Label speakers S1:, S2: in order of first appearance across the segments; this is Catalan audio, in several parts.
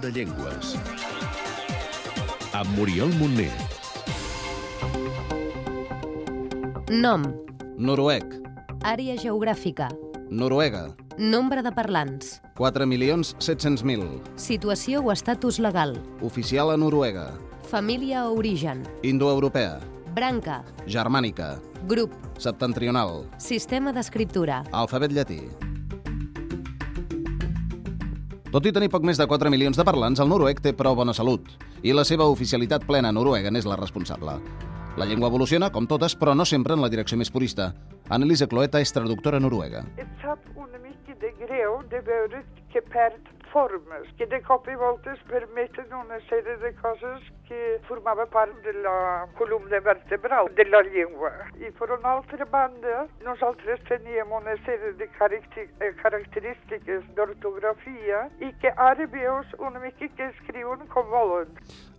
S1: de Llengües. Amb Muriel Montner.
S2: Nom,
S3: Noruec,
S2: àrea geogràfica,
S3: Noruega,
S2: nombre de parlants,
S3: 4.700.000,
S2: situació o estatus legal,
S3: oficial a Noruega,
S2: família o origen,
S3: indoeuropea,
S2: branca,
S3: germànica,
S2: grup,
S3: septentrional,
S2: sistema d'escriptura,
S3: alfabet llatí. Tot i tenir poc més de 4 milions de parlants, el noruec té prou bona salut i la seva oficialitat plena noruega n'és la responsable. La llengua evoluciona, com totes, però no sempre en la direcció més purista. Annelise Cloeta és traductora noruega.
S4: Et satt under mycket det grå, det börut kepert formes, que de cop i voltes permeten una sèrie de coses que formava part de la columna vertebral de la llengua. I per una altra banda, nosaltres teníem una sèrie de caracter eh, característiques d'ortografia i que ara veus una mica que escriuen com volen.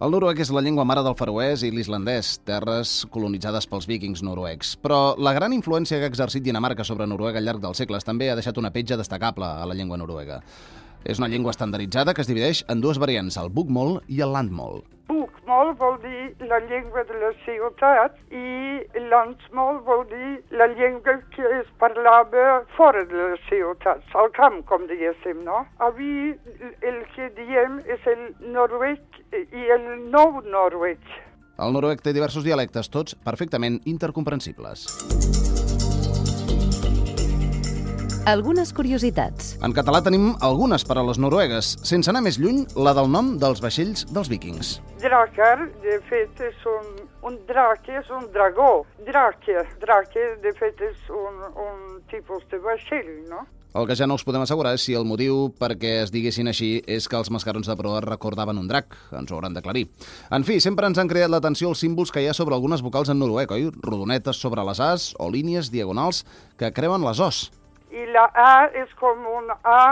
S3: El noruec és la llengua mare del faroès i l'islandès, terres colonitzades pels vikings noruecs. Però la gran influència que ha exercit Dinamarca sobre Noruega al llarg dels segles també ha deixat una petja destacable a la llengua noruega. És una llengua estandarditzada que es divideix en dues variants, el bokmål i el landmål.
S4: Bokmål vol dir la llengua de la ciutat i landsmål vol dir la llengua que es parlava fora de la ciutat, al camp, com diguéssim, no? Avui el que diem és el noruec i el nou noruec.
S3: El noruec té diversos dialectes, tots perfectament intercomprensibles.
S2: algunes curiositats.
S3: En català tenim algunes paraules noruegues, sense anar més lluny, la del nom dels vaixells dels vikings.
S4: Draker, de fet, és un, un drake, és un dragó. Drake, drake, de fet, és un, un tipus de vaixell, no?
S3: El que ja no us podem assegurar és si el motiu perquè es diguessin així és que els mascarons de proa recordaven un drac. Ens ho hauran d'aclarir. En fi, sempre ens han creat l'atenció els símbols que hi ha sobre algunes vocals en noruec, oi? Rodonetes sobre les As o línies diagonals que creuen les Os.
S4: I la A és com un A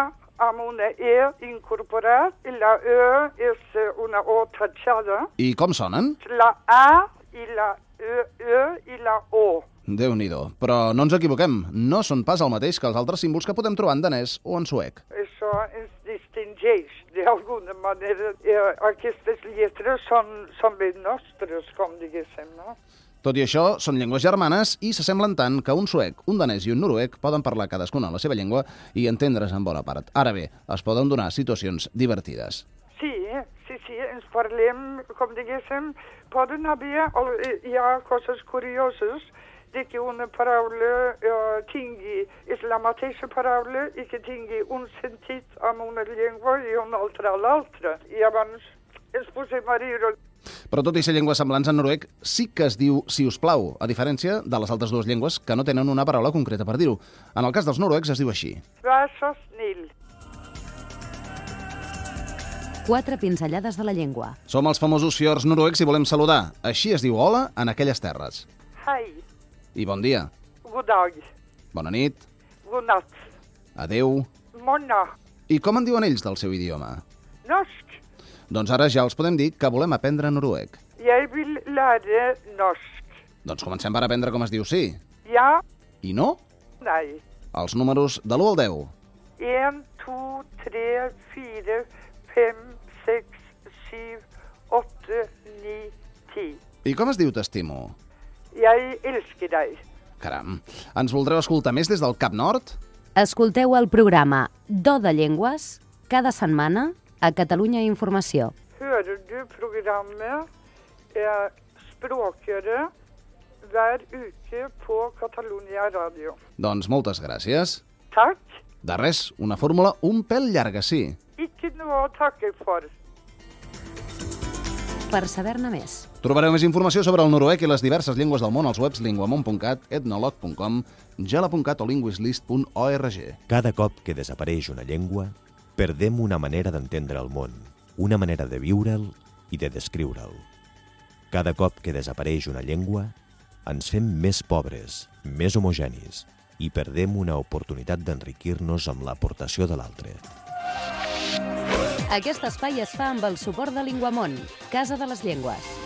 S4: amb una E incorporat, i la E és eh, una O tatxada,
S3: I com sonen?
S4: la A i la E, E i la O.
S3: déu nhi Però no ens equivoquem, no són pas el mateix que els altres símbols que podem trobar en danès o en suec.
S4: Això ens distingeix d'alguna manera. Eh, Aquestes lletres són, són ben nostres, com diguéssim, no?
S3: Tot i això, són llengües germanes i s'assemblen tant que un suec, un danès i un noruec poden parlar cadascuna la seva llengua i entendre's en bona part. Ara bé, es poden donar situacions divertides.
S4: Sí, sí, sí, ens parlem, com diguéssim, poden haver, o- hi ha coses curioses de que una paraula eh, tingui, és la mateixa paraula i que tingui un sentit amb una llengua i un altre a l'altra. I abans ens posem a riure.
S3: Però tot i ser llengües semblants en noruec, sí que es diu si us plau, a diferència de les altres dues llengües que no tenen una paraula concreta per dir-ho. En el cas dels noruecs es diu així.
S4: Vær så snill.
S2: Quatre pinzellades de la llengua.
S3: Som els famosos fiords noruecs i volem saludar. Així es diu hola en aquelles terres.
S4: Hei,
S3: I bon dia,
S4: god dag,
S3: bona nit,
S4: god natt,
S3: adeu...
S4: morna,
S3: I com en diuen ells del seu idioma?
S4: norsk.
S3: Doncs ara ja els podem dir que volem aprendre noruec.
S4: Jeg vil lære norsk.
S3: Doncs comencem per aprendre com es diu sí.
S4: Ja,
S3: I no?
S4: nei.
S3: Els números de l'1 al 10.
S4: 1, 2, 3, 4, 5, 6, 7, 8, 9, 10.
S3: I com es diu t'estimo?
S4: Jeg elsker deg.
S3: Caram, ens voldreu escoltar més des del Cap Nord?
S2: Escolteu el programa Do de Llengües cada setmana a Catalunya Informació.
S4: Hører du programmet eh, Språkøre hver uke på Catalonia Radio?
S3: Doncs moltes gràcies.
S4: Takk.
S3: De res, una fórmula un pèl llarga, sí.
S4: Ikke noe å takke for.
S2: Per saber-ne més,
S3: Trobareu més informació sobre el noruec i les diverses llengües del món als webs linguamont.cat, etnolog.com, gela.cat o linguislist.org.
S5: Cada cop que desapareix una llengua, perdem una manera d'entendre el món, una manera de viure'l i de descriure'l. Cada cop que desapareix una llengua, ens fem més pobres, més homogenis i perdem una oportunitat d'enriquir-nos amb l'aportació de l'altre.
S2: Aquest espai es fa amb el suport de Linguamont, Casa de les Llengües.